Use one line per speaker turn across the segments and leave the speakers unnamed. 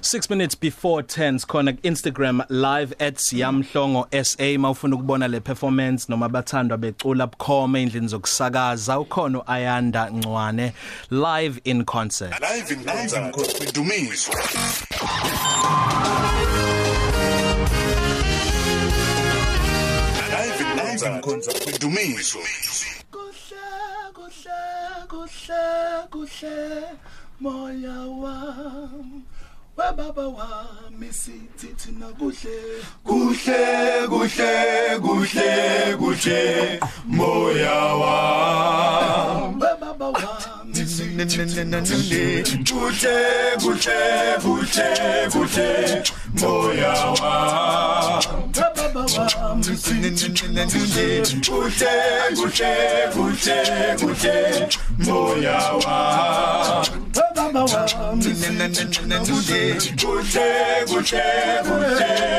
6 minutes before 10 khona Instagram live at siyamhlongo SA mawufuna ukubona le performance noma bathandwa becula bukhoma endlini zokusakaza ukhona uAyanda Ncwane live in concert
live in concert udumiso live in concert udumiso
kuhle kuhle kuhle kuhle moya wami webaba wami sithi thina kuhle kuhle kuhle kuhle kuhle moya wami webaba wami sithi thina kuhle kuhle kuhle kuhle kuhle moya wami webaba wami sithi thina kuhle kuhle kuhle kuhle kuhle moya wami webaba wami sithi thina kuhle kuhle kuhle kuhle kuhle moya wami webaba wami sithi thina kuhle kuhle kuhle kuhle kuhle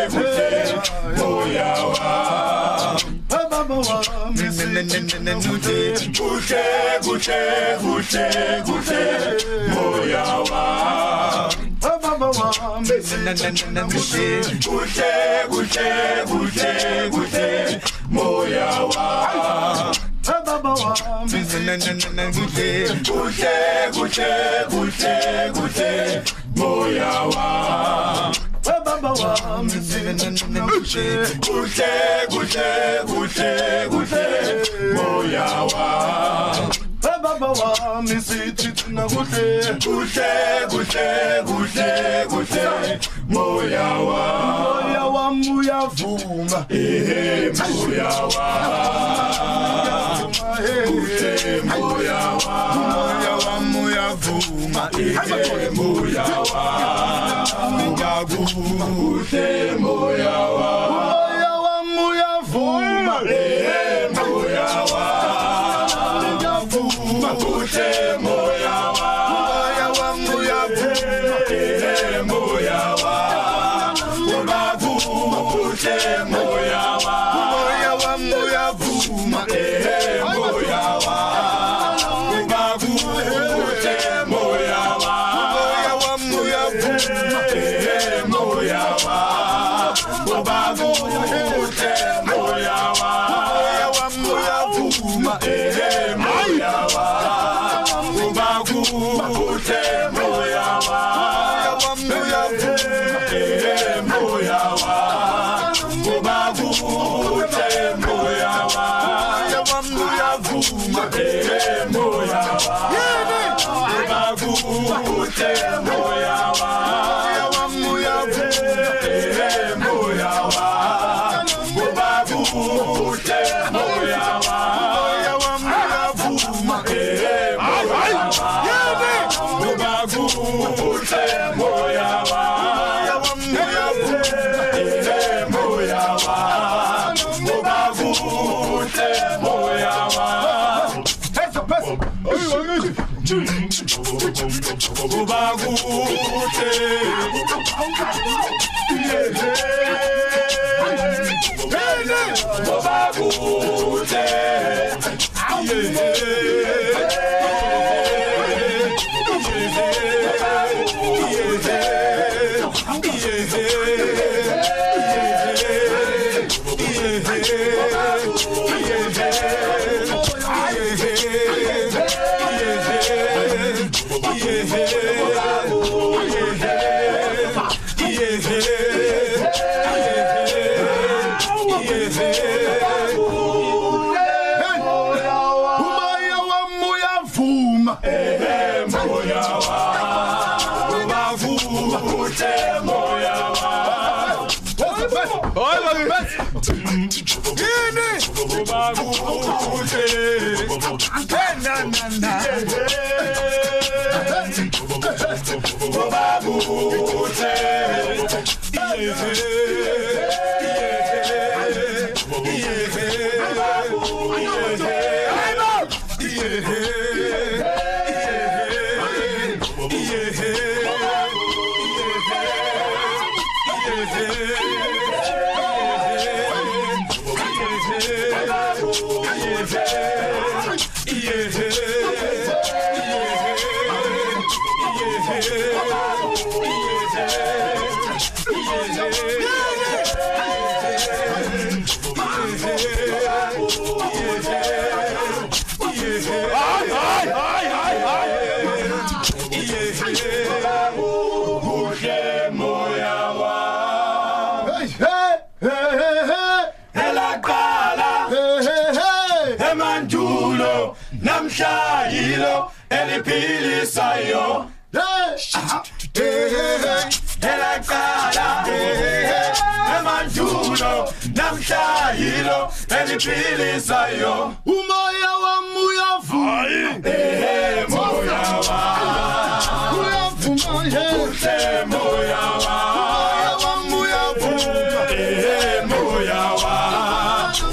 moya wami webaba wami sithi thina kuhle kuhle kuhle kuhle kuhle moya wami Baba wami kuhle kuhle kuhle kuhle kuhle moya wami Baba wami kuhle kuhle kuhle kuhle kuhle moya wami Baba wami sithi thina kuhle kuhle kuhle kuhle kuhle moya wami moya wami uyavuma ehe moya wami kuhle moya wami moya wami uyavuma ehe moya wami ngakuhle moya wami moya wami uyavuma ehe moya wami ngavuma kuhle moya wami moya wami uyavuma ehe moya wami ungavuma kuhle moya wami moya wami uyavuma ehe moya wami ungavuma kuhle moya wami moya wami uyavuma ehe moya wami ungavuma kuhle moya wami uyavuma ehe moya wami ubakuhle moya wami uyavuma ehe moya wami ubakuhle moya wami uyavuma ehe moya wami ubakuhle moya wami uyavuma ehe moya wami ubakuhle moya wami uyavuma ehe moya wami ubakuhle moya wami uyavuma ehe moya wami ubakuhle moya wami kuba kuhle kuba kuhle umoya wami uyavuma moya wami ubavuma uthe moya wami Hoy bakubet. Yini? Ubavuthe. Na na na. Ubavuthe. Yeah. Hayi hayi hayi hayi hayi. Kuhle moya wa.
Hey hey hey hey
Elaqala
hey hey hey.
emandulo namshayilo eliphilisayo.
Hey hey hey hey.
Elaqala eh, emandulo namshayilo eliphilisayo.
Umoya wami uyavuma.
Ehe eh, moya wa.
Uyavuma hey.
Kuhle moya wa.
Wami uyavuma.
Ehe moya wa.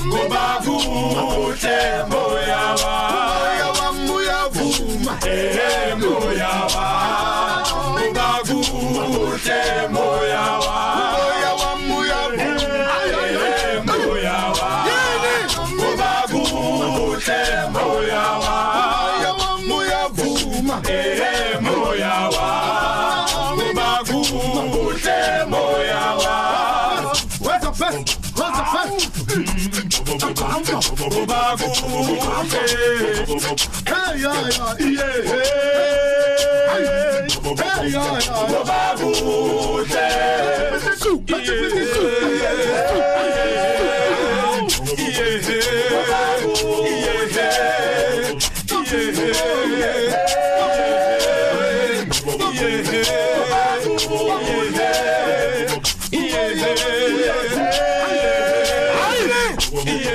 Ngoba kuhle moya wa.
Wami uyavuma.
Ehe moya wa. Ngoba kuhle moya wa.
Wami uyavuma.
Ehe moya wa. Ngoba kuhle moya wa.
Wami uyavuma.
Ehe moya wa. Ngoba kuhle moya wa.
Where's the best? Where's the best?
Ngoba kuhle.
Hey yeah yeah. Yeah. Hey yeah yeah.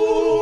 Yeah.